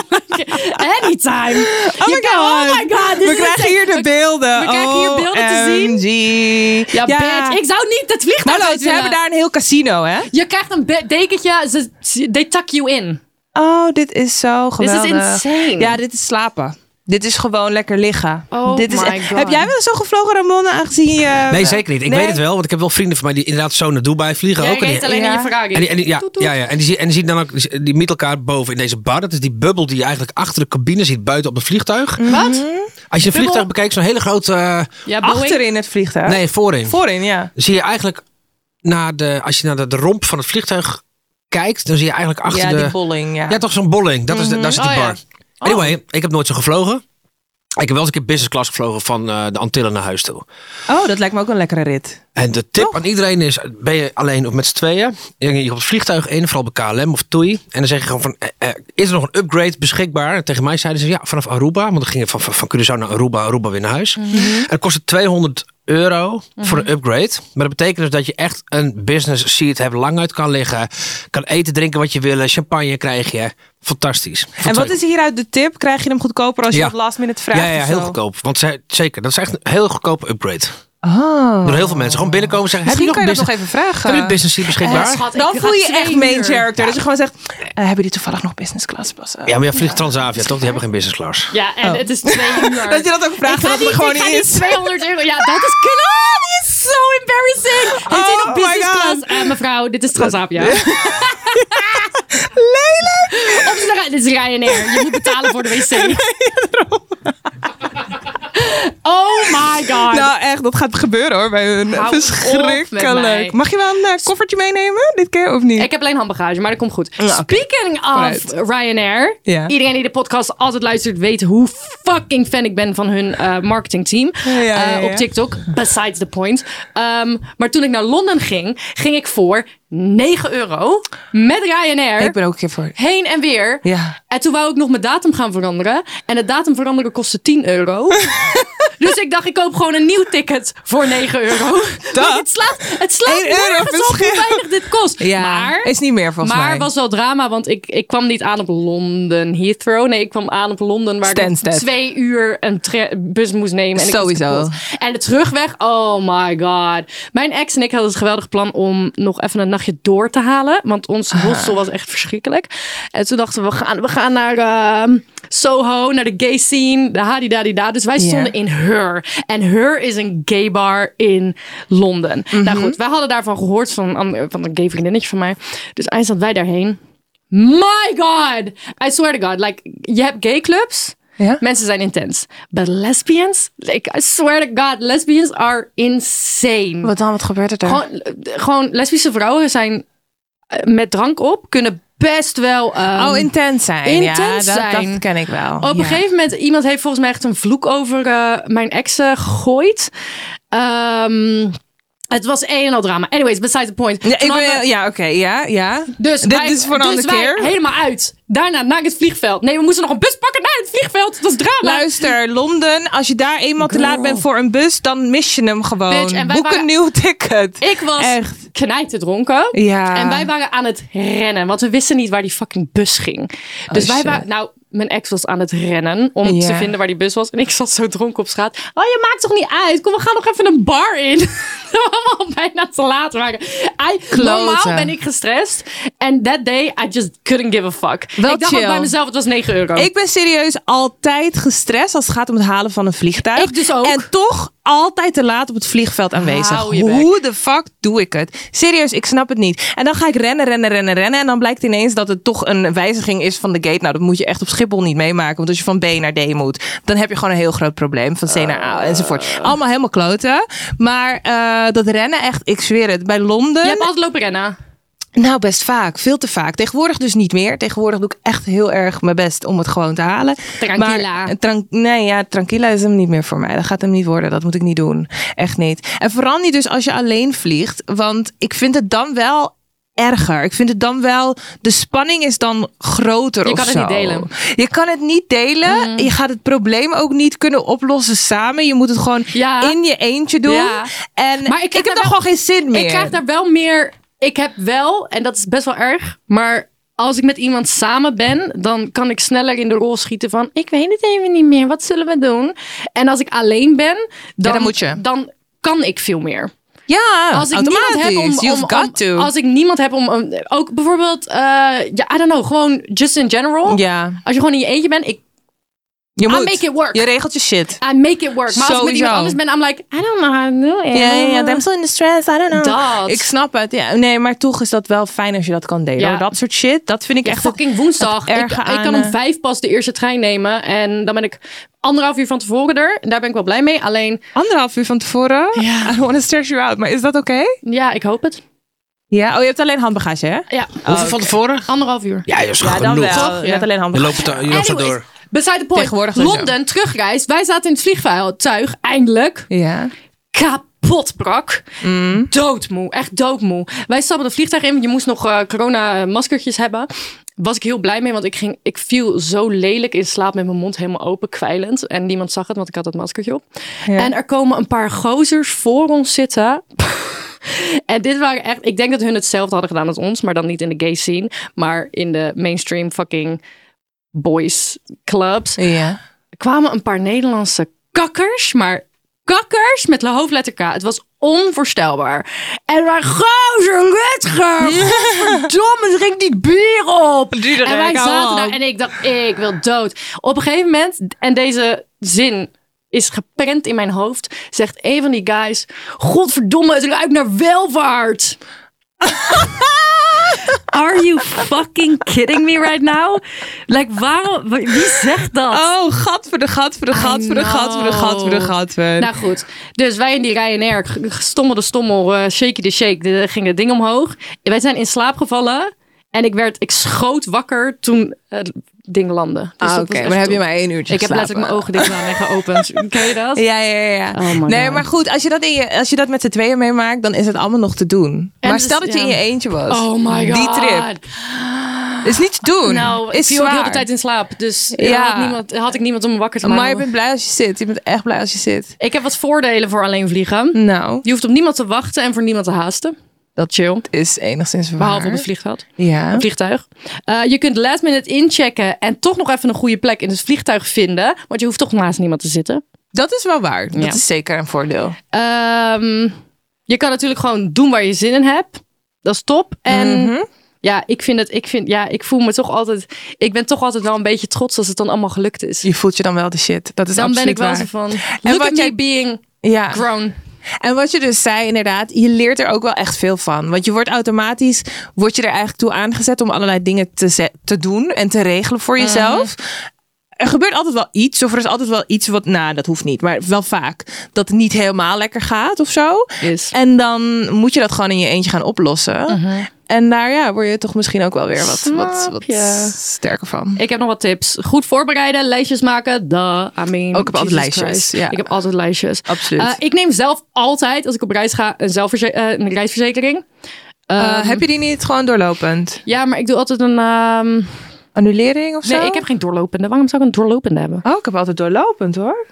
Speaker 2: Like, anytime."
Speaker 3: Oh my
Speaker 2: You can-
Speaker 3: god.
Speaker 2: oh my god, this
Speaker 3: we
Speaker 2: is insane.
Speaker 3: krijgen hier de beelden. Oh,
Speaker 2: we krijgen hier beelden te zien.
Speaker 3: zien.
Speaker 2: Ja, bitch, ik zou niet het vliegtuig
Speaker 3: Hallo,
Speaker 2: uit
Speaker 3: Nou, ze hebben
Speaker 2: willen.
Speaker 3: daar een heel casino, hè?
Speaker 2: Je krijgt een be- dekentje, ze, ze- they tuck you in.
Speaker 3: Oh, dit is zo
Speaker 2: is
Speaker 3: geweldig.
Speaker 2: insane.
Speaker 3: Ja, dit is slapen. Dit is gewoon lekker liggen.
Speaker 2: Oh
Speaker 3: dit is,
Speaker 2: my God.
Speaker 3: Heb jij wel eens zo gevlogen, Ramon, aangezien je...
Speaker 1: nee, zeker niet. Ik
Speaker 3: Nee.
Speaker 1: weet het wel, want ik heb wel vrienden van mij die inderdaad zo naar Dubai vliegen.
Speaker 2: Jij
Speaker 1: ook en die-
Speaker 2: reed alleen
Speaker 3: Ja.
Speaker 2: in je Ferrari.
Speaker 1: En die, en die- ja,
Speaker 2: Toet, toet.
Speaker 1: ja, ja, en die, zie- en die ziet dan ook die- die met elkaar boven in deze bar. Dat is die bubbel die je eigenlijk achter de cabine ziet buiten op het vliegtuig.
Speaker 2: Wat?
Speaker 1: Als je een vliegtuig
Speaker 2: Mm. Bubbel?
Speaker 1: bekijkt, zo'n hele grote... eh,
Speaker 2: Ja, Boeing.
Speaker 3: Achterin het vliegtuig?
Speaker 1: nee, voorin.
Speaker 3: Voorin, ja.
Speaker 1: Zie je eigenlijk, naar de, als je naar de, de romp van het vliegtuig kijkt, dan zie je eigenlijk achter
Speaker 3: ja,
Speaker 1: de...
Speaker 3: die bolling, ja. Mhm.
Speaker 1: Ja, toch zo'n bolling. Dat is de, daar zit die
Speaker 2: Oh, ja.
Speaker 1: bar. Anyway, ik heb nooit zo gevlogen. Ik heb wel eens een keer business class gevlogen van eh, de Antillen naar huis toe.
Speaker 3: Oh, dat lijkt me ook een lekkere rit.
Speaker 1: En de tip
Speaker 3: Toch?
Speaker 1: aan iedereen is, ben je alleen of met z'n tweeën? Je gaat op het vliegtuig in, vooral bij KLM of TUI. En dan zeg je gewoon van, eh, eh, is er nog een upgrade beschikbaar? En tegen mij zeiden ze, ja, vanaf Aruba. Want dan gingen van, van, van Curaçao naar Aruba, Aruba weer naar huis.
Speaker 3: Mhm.
Speaker 1: En dat kostte 200 euro voor een upgrade. Maar dat betekent dus dat je echt een business seat hebt, lang uit kan liggen. Kan eten, drinken wat je wil, champagne krijg je. Fantastisch.
Speaker 3: En wat is hieruit de tip? Krijg je hem goedkoper als je
Speaker 1: Ja.
Speaker 3: op last minute vraagt?
Speaker 1: Ja, ja,
Speaker 3: of
Speaker 1: heel
Speaker 3: zo?
Speaker 1: goedkoop. Want zij, zeker, dat is echt een heel goedkope upgrade.
Speaker 3: Oh.
Speaker 1: Door heel veel mensen gewoon binnenkomen en zeggen, heb
Speaker 3: Misschien
Speaker 1: je nog
Speaker 3: kan je dat
Speaker 1: business?
Speaker 3: nog even vragen.
Speaker 1: Heb je een business seat beschikbaar?
Speaker 2: Eh, schat,
Speaker 3: Dan
Speaker 2: ik
Speaker 3: voel je
Speaker 2: ga
Speaker 3: echt
Speaker 2: twee
Speaker 3: main
Speaker 2: uur.
Speaker 3: character. Dus je gewoon zegt, eh, hebben jullie toevallig nog business class eh?" passen?
Speaker 1: Ja, maar jij vliegt Transavia, toch? Die hebben geen business class.
Speaker 2: Ja, en het is twee uur.
Speaker 3: Oh. Dat je dat ook vraagt,
Speaker 2: Ik ga
Speaker 3: dat het
Speaker 2: niet-
Speaker 3: er gewoon
Speaker 2: ik ga
Speaker 3: niet
Speaker 2: niet
Speaker 3: is.
Speaker 2: 200 euro. Ja, dat is knap. Die is zo embarrassing. Dit is
Speaker 3: Oh
Speaker 2: nog
Speaker 3: my
Speaker 2: business
Speaker 3: God.
Speaker 2: class. Eh, mevrouw, dit is Transavia. Lelijk. Of ze zeggen, dit is Ryanair. Je moet betalen voor de wc. Oh my god.
Speaker 3: Nou, echt, dat gaat gebeuren hoor bij hun.
Speaker 2: Hou op met mij.
Speaker 3: Verschrikkelijk. Mag je wel een eh, koffertje meenemen dit keer of niet?
Speaker 2: Ik heb alleen handbagage, maar dat komt goed.
Speaker 3: Nou, oké.
Speaker 2: Speaking of
Speaker 3: Vooruit.
Speaker 2: Ryanair.
Speaker 3: Ja.
Speaker 2: Iedereen die de podcast altijd luistert weet hoe fucking fan ik ben van hun eh, marketingteam
Speaker 3: Ja, ja,
Speaker 2: eh,
Speaker 3: ja.
Speaker 2: op TikTok. Besides the point. Ehm, maar toen ik naar Londen ging, ging ik voor 9 euro met Ryanair.
Speaker 3: ben ook een keer voor.
Speaker 2: Heen en weer.
Speaker 3: Ja.
Speaker 2: En toen wou ik nog mijn datum gaan veranderen. En het datum veranderen kostte 10 euro. dus ik dacht, ik koop gewoon een nieuw ticket voor 9 euro. Want Het slaat, het slaat
Speaker 3: 1 euro
Speaker 2: nergens op hoe
Speaker 3: verschil.
Speaker 2: weinig dit kost.
Speaker 3: Ja,
Speaker 2: maar
Speaker 3: is niet meer volgens
Speaker 2: maar
Speaker 3: mij.
Speaker 2: was wel drama, want ik, ik kwam niet aan op Londen Heathrow. Nee, ik kwam aan op Londen, waar ik nog
Speaker 3: Stansted.
Speaker 2: twee uur een tra- bus moest nemen. En ik was
Speaker 3: Sowieso.
Speaker 2: kapot. En de terugweg, oh my god. Mijn ex en ik hadden het geweldig plan om nog even een nachtje door te halen. Want ons hostel was echt verschrikkelijk. En toen dachten we, we gaan, we gaan naar ehm, Soho, naar de gay scene, de hadidadida. Dus wij
Speaker 3: Ja.
Speaker 2: stonden in Her. En Her is een gay bar in Londen. Nou goed, wij hadden daarvan gehoord van, een ander- van een gay vriendinnetje van mij. Dus eindstand wij daarheen. My god! I swear to god. Like, je hebt gay clubs.
Speaker 3: Ja?
Speaker 2: Mensen zijn intens. But lesbians? Like, I swear to god. Lesbians are insane.
Speaker 3: Wat dan? Wat gebeurt er daar?
Speaker 2: Gewoon, gewoon lesbische vrouwen zijn eh, met drank op. Kunnen best wel... ehm,
Speaker 3: oh, intens zijn. ja, dat,
Speaker 2: intens zijn.
Speaker 3: dat ken ik wel.
Speaker 2: op een gegeven moment, iemand heeft volgens mij echt een vloek over eh, mijn ex eh, gegooid. Ehm, het was een en al drama. Anyways, besides the point.
Speaker 3: Ja, ik
Speaker 2: Toen hadden-
Speaker 3: ben, ja oké, ja, ja.
Speaker 2: Dus
Speaker 3: Dit
Speaker 2: wij,
Speaker 3: is voor een
Speaker 2: dus
Speaker 3: andere
Speaker 2: wij
Speaker 3: keer.
Speaker 2: helemaal uit. Daarna naar het vliegveld. Nee, we moesten nog een bus pakken naar het vliegveld. Het was drama.
Speaker 3: Luister, Londen, als je daar eenmaal te laat bent voor een bus, dan mis je hem gewoon.
Speaker 2: Bitch, en wij
Speaker 3: Boek
Speaker 2: waren-
Speaker 3: een nieuw ticket.
Speaker 2: Ik was
Speaker 3: Echt.
Speaker 2: knijterdronken.
Speaker 3: Ja.
Speaker 2: En wij waren aan het rennen. Want we wisten niet waar die fucking bus ging. Dus wij
Speaker 3: Oh, shit.
Speaker 2: waren... Nou, mijn ex was aan het rennen om
Speaker 3: Ja.
Speaker 2: te vinden waar die bus was. En ik zat zo dronken op straat. Oh, je maakt toch niet uit? Kom, we gaan nog even een bar in. Dat we allemaal bijna te laat waren. I, normaal
Speaker 3: Kloten.
Speaker 2: ben ik gestrest. En that day, I just couldn't give a fuck.
Speaker 3: Wel
Speaker 2: ik dacht ook
Speaker 3: chill.
Speaker 2: bij mezelf, het was 9 euro.
Speaker 3: Ik ben serieus altijd gestrest als het gaat om het halen van een vliegtuig.
Speaker 2: Ik dus ook.
Speaker 3: En toch altijd te laat op het vliegveld aanwezig.
Speaker 2: Hou je bek.
Speaker 3: Hoe de fuck doe ik het? Serieus, ik snap het niet. En dan ga ik rennen, rennen, rennen, rennen. En dan blijkt ineens dat het toch een wijziging is van de gate. Nou, dat moet je echt op Schiphol niet meemaken. Want als je van B naar D moet, dan heb je gewoon een heel groot probleem. Van C naar A enzovoort. Allemaal helemaal kloten. Maar eh, dat rennen echt, ik zweer het. Bij Londen...
Speaker 2: Je hebt altijd lopen rennen.
Speaker 3: Nou, best vaak. Veel te vaak. Tegenwoordig dus niet meer. Tegenwoordig doe ik echt heel erg mijn best om het gewoon te halen.
Speaker 2: Tranquila.
Speaker 3: Maar, eh, tran- nee, ja, tranquila is hem niet meer voor mij. Dat gaat hem niet worden. Dat moet ik niet doen. Echt niet. En vooral niet dus als je alleen vliegt. Want ik vind het dan wel erger. Ik vind het dan wel... De spanning is dan groter
Speaker 2: Je
Speaker 3: of
Speaker 2: kan het
Speaker 3: zo.
Speaker 2: niet delen. Mm.
Speaker 3: Je kan het niet delen. Je gaat het probleem ook niet kunnen oplossen samen. Je moet het gewoon
Speaker 2: Ja.
Speaker 3: in je eentje doen.
Speaker 2: Ja.
Speaker 3: En
Speaker 2: Maar ik heb
Speaker 3: ik,
Speaker 2: daar
Speaker 3: heb daar
Speaker 2: wel-
Speaker 3: gewoon geen zin meer.
Speaker 2: Ik krijg daar wel meer. Ik heb wel, en dat is best wel erg, maar als ik met iemand samen ben, dan kan ik sneller in de rol schieten van: ik weet het even niet meer, wat zullen we doen? En als ik alleen ben, dan,
Speaker 3: dan moet je.
Speaker 2: dan kan ik veel meer.
Speaker 3: Ja,
Speaker 2: Als ik
Speaker 3: automatisch.
Speaker 2: niemand heb om, om-
Speaker 3: You've
Speaker 2: om-
Speaker 3: got to.
Speaker 2: als ik niemand heb om, om- ook bijvoorbeeld, eh, ja, I don't know, gewoon just in general.
Speaker 3: ja,
Speaker 2: Als je gewoon in je eentje bent, ik
Speaker 3: je
Speaker 2: I
Speaker 3: moet.
Speaker 2: make it work.
Speaker 3: Je regelt je shit.
Speaker 2: I make it work. Maar als ik met
Speaker 3: Sowieso.
Speaker 2: iemand anders ben, I'm like, I don't know how to do it.
Speaker 3: Ja, ja, ja, I'm still in the stress. I don't know.
Speaker 2: Dat.
Speaker 3: Ik snap het. Ja, nee, maar toch is dat wel fijn als je dat kan delen.
Speaker 2: Ja.
Speaker 3: hoor. Dat soort shit, dat vind ik
Speaker 2: Ja,
Speaker 3: echt...
Speaker 2: fucking woensdag.
Speaker 3: het
Speaker 2: Ik,
Speaker 3: erge
Speaker 2: ik
Speaker 3: aan,
Speaker 2: kan om
Speaker 3: eh,
Speaker 2: vijf pas de eerste trein nemen. En dan ben ik anderhalf uur van tevoren er. En daar ben ik wel blij mee. Alleen,
Speaker 3: Anderhalf uur van tevoren.
Speaker 2: Ja.
Speaker 3: I don't want to stress you out. Maar is dat oké?
Speaker 2: ja, ik hoop het.
Speaker 3: Ja. Oh, je hebt alleen handbagage, hè?
Speaker 2: Ja,
Speaker 3: Oh,
Speaker 1: Hoeveel van tevoren?
Speaker 2: anderhalf uur.
Speaker 1: Ja, dat is genoeg.
Speaker 3: Toch?
Speaker 2: Ja.
Speaker 3: Je hebt alleen
Speaker 1: Je
Speaker 3: handbagage.
Speaker 1: loopt het je loopt het
Speaker 2: Anyways,
Speaker 1: door.
Speaker 2: beside the point.
Speaker 3: Tegenwoordig sowieso.
Speaker 2: Londen, terugreis. Wij zaten in het vliegtuig, eindelijk.
Speaker 3: Ja.
Speaker 2: Kapot brak. Doodmoe. Echt doodmoe. Wij stappen de vliegtuig in. Je moest nog eh, corona-maskertjes hebben. Was ik heel blij mee, want ik, ging, ik viel zo lelijk in slaap met mijn mond helemaal open, kwijlend. En niemand zag het, want ik had dat maskertje op.
Speaker 3: Ja.
Speaker 2: En er komen een paar gozers voor ons zitten. En dit waren echt, ik denk dat hun hetzelfde hadden gedaan als ons, maar dan niet in de gay scene, maar in de mainstream fucking boys clubs.
Speaker 3: Ja.
Speaker 2: Er kwamen een paar Nederlandse kakkers, maar kakkers met de hoofdletter K. Het was onvoorstelbaar. En wij gozer, Rutger, godverdomme, drink die bier op. En wij zaten daar en ik dacht, ik wil dood. Op een gegeven moment, en deze zin is geprent in mijn hoofd, zegt een van die guys, godverdomme, het ruikt naar welvaart. Are you fucking kidding me right now? Like, waarom, wie zegt dat?
Speaker 3: Oh, gat voor de gat voor de gat voor de gat voor de gat voor de gat.
Speaker 2: Nou goed, dus wij in die Ryanair, g- g- stommel de stommel, eh shaky de shake, de, ging het ding omhoog. Wij zijn in slaap gevallen en ik, werd, ik schoot wakker toen het ding landde. Dus dat
Speaker 3: Ah,
Speaker 2: was
Speaker 3: Oké,
Speaker 2: echt
Speaker 3: maar heb je
Speaker 2: top.
Speaker 3: maar één uurtje
Speaker 2: Ik heb
Speaker 3: geslapen.
Speaker 2: letterlijk mijn ogen dicht gedaan en geopend. Ken je dat?
Speaker 3: Ja, ja, ja. ja.
Speaker 2: Oh my
Speaker 3: nee,
Speaker 2: God.
Speaker 3: maar goed, als je, dat in je, als je dat met z'n tweeën meemaakt, dan is het allemaal nog te doen.
Speaker 2: En
Speaker 3: maar
Speaker 2: dus-
Speaker 3: stel dat je
Speaker 2: ja.
Speaker 3: in je eentje was.
Speaker 2: Oh my god.
Speaker 3: Die trip is niet te doen.
Speaker 2: Nou, ik
Speaker 3: is
Speaker 2: viel ook heel de
Speaker 3: zwaar.
Speaker 2: tijd in slaap. Dus
Speaker 3: Ja.
Speaker 2: ja. had, niemand, had ik niemand om me wakker te
Speaker 3: Maar,
Speaker 2: maken.
Speaker 3: je bent blij als je zit. Je bent echt blij als je zit.
Speaker 2: Ik heb wat voordelen voor alleen vliegen.
Speaker 3: Nou,
Speaker 2: Je hoeft op niemand te wachten en voor niemand te haasten. Dat chill.
Speaker 3: is enigszins waar.
Speaker 2: Behalve op het vliegveld.
Speaker 3: Ja.
Speaker 2: Een vliegtuig. Eh, je kunt last minute inchecken en toch nog even een goede plek in het vliegtuig vinden. Want je hoeft toch naast niemand te zitten.
Speaker 3: Dat is wel waar. Dat
Speaker 2: Ja.
Speaker 3: is zeker een voordeel.
Speaker 2: Ehm, je kan natuurlijk gewoon doen waar je zin in hebt. Dat is top. En
Speaker 3: Mhm.
Speaker 2: ja, ik vind het, ik vind, ja, ik voel me toch altijd, ik ben toch altijd wel een beetje trots als het dan allemaal gelukt is.
Speaker 3: Je voelt je dan wel de shit. Dat is
Speaker 2: dan ben ik
Speaker 3: absoluut
Speaker 2: wel
Speaker 3: waar.
Speaker 2: zo van, look
Speaker 3: wat
Speaker 2: at
Speaker 3: jij-
Speaker 2: me being
Speaker 3: Ja.
Speaker 2: grown.
Speaker 3: En wat je dus zei, inderdaad, je leert er ook wel echt veel van. Want je wordt automatisch, word je er eigenlijk toe aangezet om allerlei dingen te, ze- te doen en te regelen
Speaker 2: Mhm.
Speaker 3: voor jezelf. Er gebeurt altijd wel iets, of er is altijd wel iets wat, nou, dat hoeft niet, maar wel vaak dat het niet helemaal lekker gaat of zo.
Speaker 2: Yes.
Speaker 3: En dan moet je dat gewoon in je eentje gaan oplossen. En daar ja, word je toch misschien ook wel weer wat, wat,
Speaker 2: Mhm. Snap
Speaker 3: wat
Speaker 2: je.
Speaker 3: sterker van.
Speaker 2: Ik heb nog wat tips. Goed voorbereiden, lijstjes maken. Duh, I mean,
Speaker 3: Ook, ik heb altijd
Speaker 2: Jesus
Speaker 3: lijstjes,
Speaker 2: Christ.
Speaker 3: ja.
Speaker 2: Ik heb altijd lijstjes.
Speaker 3: Absoluut.
Speaker 2: Eh, ik neem zelf altijd, als ik op reis ga, een, zelfverze- eh, een reisverzekering.
Speaker 3: Eh,
Speaker 2: Ehm,
Speaker 3: heb je die niet gewoon doorlopend?
Speaker 2: Ja, maar ik doe altijd een... ehm,
Speaker 3: Annulering of zo?
Speaker 2: Nee, ik heb geen doorlopende. Waarom zou ik een doorlopende hebben?
Speaker 3: Oh, ik heb altijd doorlopend hoor.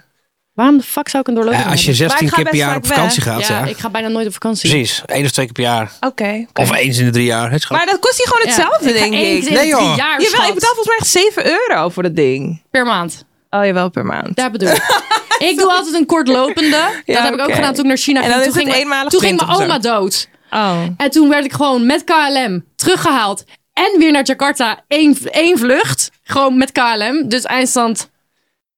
Speaker 2: Waarom de fuck zou ik een doorlopende
Speaker 1: als je
Speaker 2: hebben?
Speaker 3: Maar
Speaker 1: 16
Speaker 3: ik ga
Speaker 1: keer per
Speaker 3: best
Speaker 1: jaar
Speaker 3: vaak
Speaker 1: op vakantie gaat,
Speaker 2: Ja,
Speaker 1: ja.
Speaker 2: ik ga bijna nooit op vakantie.
Speaker 1: Precies, één of twee keer per jaar.
Speaker 3: Oké. oké.
Speaker 1: Of eens in de drie jaar. Het is gewoon-
Speaker 3: Maar dat kost hier gewoon
Speaker 2: Ja.
Speaker 3: hetzelfde,
Speaker 2: ga
Speaker 3: denk
Speaker 2: één
Speaker 3: ik.
Speaker 2: keer in
Speaker 1: Nee,
Speaker 2: de
Speaker 1: joh.
Speaker 2: drie jaar,
Speaker 3: Jawel, ik
Speaker 2: schat.
Speaker 3: betaal volgens mij echt 7 euro voor dat ding.
Speaker 2: Per maand.
Speaker 3: Oh, jawel, per maand.
Speaker 2: Daar bedoel ik. ik doe altijd een kortlopende. dat heb ik ook
Speaker 3: oké.
Speaker 2: gedaan toen ik naar China
Speaker 3: En
Speaker 2: ging.
Speaker 3: dan
Speaker 2: toen
Speaker 3: is het
Speaker 2: ging mijn-
Speaker 3: eenmalig
Speaker 2: Toen ging
Speaker 3: 20
Speaker 2: mijn
Speaker 3: of zo.
Speaker 2: oma dood.
Speaker 3: Oh.
Speaker 2: En toen werd ik gewoon met KLM teruggehaald. En weer naar Jakarta. Eén, één vlucht. Gewoon met KLM. Dus eindstand.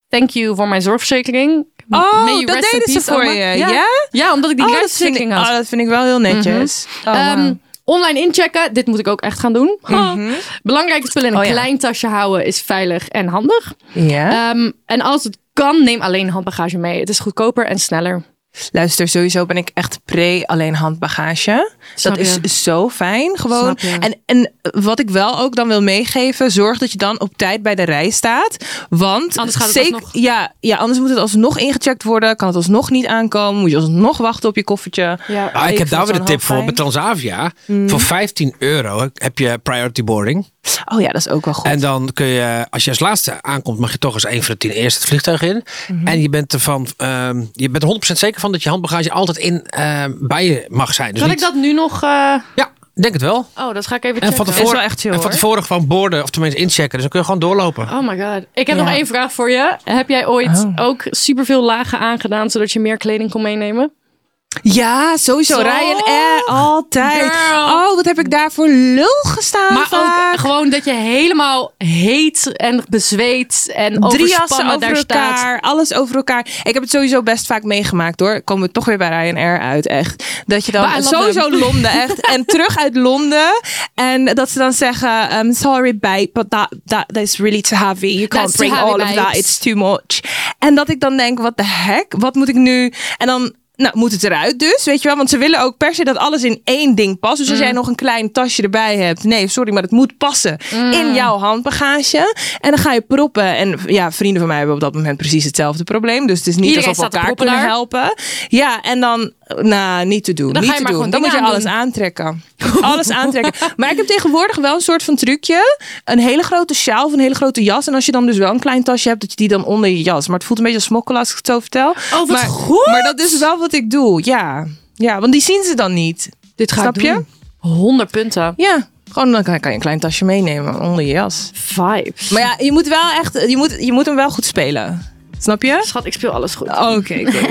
Speaker 2: Thank you voor mijn zorgverzekering.
Speaker 3: Oh,
Speaker 2: May you
Speaker 3: dat
Speaker 2: rest in
Speaker 3: deden ze
Speaker 2: peace, oma.
Speaker 3: voor je,
Speaker 2: Ja,
Speaker 3: ja?
Speaker 2: Ja, omdat ik die
Speaker 3: Oh, dat vind ik,
Speaker 2: reisverzekering had.
Speaker 3: oh, dat vind ik wel heel netjes. Oh, wauw.
Speaker 2: Ehm, online inchecken. Dit moet ik ook echt gaan doen. Ha. Belangrijke spullen in een
Speaker 3: Oh, ja.
Speaker 2: klein tasje houden is veilig en handig.
Speaker 3: ja.
Speaker 2: Ehm, en als het kan, neem alleen handbagage mee. Het is goedkoper en sneller.
Speaker 3: Luister, sowieso ben ik echt pre alleen handbagage.
Speaker 2: Snap
Speaker 3: dat
Speaker 2: je.
Speaker 3: is zo fijn gewoon.
Speaker 2: Snap je.
Speaker 3: En, en wat ik wel ook dan wil meegeven, zorg dat je dan op tijd bij de rij staat. Want
Speaker 2: Anders gaat het
Speaker 3: zeker,
Speaker 2: alsnog.
Speaker 3: ja, ja, anders moet het alsnog ingecheckt worden. Kan het alsnog niet aankomen. Moet je alsnog wachten op je koffertje.
Speaker 2: Ja.
Speaker 1: Ah, ik, heb
Speaker 3: vind het
Speaker 1: daar weer een
Speaker 3: wel
Speaker 1: tip
Speaker 3: heel
Speaker 1: voor.
Speaker 3: fijn. Mm.
Speaker 1: Bij Transavia, voor 15 euro heb je priority boarding.
Speaker 3: Oh ja, dat is ook wel goed.
Speaker 1: En dan kun je, als je als laatste aankomt, mag je toch als een van de tien eerst het vliegtuig in.
Speaker 3: Mhm.
Speaker 1: En je bent ervan, ehm, je bent er 100% zeker van dat je handbagage altijd in ehm, bij je mag zijn. Dus
Speaker 2: Kan ik
Speaker 1: niet-
Speaker 2: dat nu nog... eh,
Speaker 1: Ja, ik denk het wel.
Speaker 2: Oh, dat ga ik even
Speaker 1: En van
Speaker 2: checken.
Speaker 1: tevoren,
Speaker 3: Is wel echt chill,
Speaker 1: en van
Speaker 3: hoor.
Speaker 1: tevoren gewoon boorden, of tenminste inchecken. Dus dan kun je gewoon doorlopen.
Speaker 2: Oh my god. Ik heb
Speaker 3: Ja.
Speaker 2: nog één vraag voor je. Heb jij ooit
Speaker 3: Oh.
Speaker 2: ook superveel lagen aangedaan, zodat je meer kleding kon meenemen?
Speaker 3: Ja, sowieso.
Speaker 2: Toch?
Speaker 3: Ryan Air, altijd.
Speaker 2: Girl.
Speaker 3: Oh, wat heb ik daar voor lul gestaan
Speaker 2: Maar
Speaker 3: vaak.
Speaker 2: ook gewoon dat je helemaal heet en bezweet en
Speaker 3: Drie jassen
Speaker 2: overspannen
Speaker 3: over
Speaker 2: daar
Speaker 3: elkaar,
Speaker 2: staat.
Speaker 3: alles over elkaar. Ik heb het sowieso best vaak meegemaakt hoor. Komen we toch weer bij Ryanair uit, echt. Dat je dan
Speaker 2: Bij Londen.
Speaker 3: sowieso Londen, echt. en terug uit Londen. En dat ze dan zeggen, um, sorry babe, but that, that, that is really too heavy. You can't
Speaker 2: That's too
Speaker 3: bring
Speaker 2: heavy,
Speaker 3: all of that,
Speaker 2: babes.
Speaker 3: it's too much. En dat ik dan denk, what the heck? Wat moet ik nu? En dan nou, moet het eruit dus, weet je wel. Want ze willen ook per se dat alles in één ding past.
Speaker 2: Mm.
Speaker 3: Dus als jij nog een klein tasje erbij hebt. Nee, sorry, maar het moet passen
Speaker 2: Mm.
Speaker 3: in jouw handbagage. En dan ga je proppen. En ja, vrienden van mij hebben op dat moment precies hetzelfde probleem. Dus het is niet
Speaker 2: Iedereen
Speaker 3: alsof
Speaker 2: staat
Speaker 3: we
Speaker 2: te
Speaker 3: elkaar
Speaker 2: proppen
Speaker 3: kunnen
Speaker 2: daar.
Speaker 3: helpen. Ja, en dan, nou, niet te doen.
Speaker 2: Dan
Speaker 3: niet
Speaker 2: ga je
Speaker 3: te
Speaker 2: maar gewoon
Speaker 3: doen. Dan moet je
Speaker 2: dingen
Speaker 3: alles aantrekken. Alles aantrekken. Maar ik heb tegenwoordig wel een soort van trucje. Een hele grote sjaal of een hele grote jas. En als je dan dus wel een klein tasje hebt, dat je die dan onder je jas. Maar het voelt een beetje als smokkelen als ik het zo vertel.
Speaker 2: Oh, wat
Speaker 3: maar,
Speaker 2: goed!
Speaker 3: Maar dat is wel wat ik doe, ja. Ja, want die zien ze dan niet.
Speaker 2: Dit ga
Speaker 3: Snap
Speaker 2: ik
Speaker 3: je?
Speaker 2: doen. 100 punten.
Speaker 3: Ja, gewoon dan kan kan je een klein tasje meenemen onder je jas.
Speaker 2: Vibes.
Speaker 3: Maar ja, je moet wel echt, je moet, je moet hem wel goed spelen. Snap je?
Speaker 2: Schat, ik speel alles goed.
Speaker 3: Oké, oké.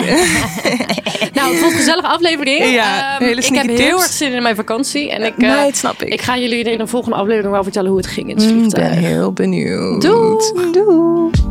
Speaker 2: Nou, het was een gezellige aflevering.
Speaker 3: Ja,
Speaker 2: Ehm,
Speaker 3: hele
Speaker 2: ik heb
Speaker 3: sneaky
Speaker 2: heel
Speaker 3: tips. Nou,
Speaker 2: erg zin in mijn vakantie. En ik, eh,
Speaker 3: Nee, dat snap ik. Mm,
Speaker 2: ik ga jullie in een volgende aflevering wel vertellen hoe het ging in het
Speaker 3: Ik
Speaker 2: vliegtuig.
Speaker 3: ben heel benieuwd.
Speaker 2: Doei.
Speaker 3: Doei.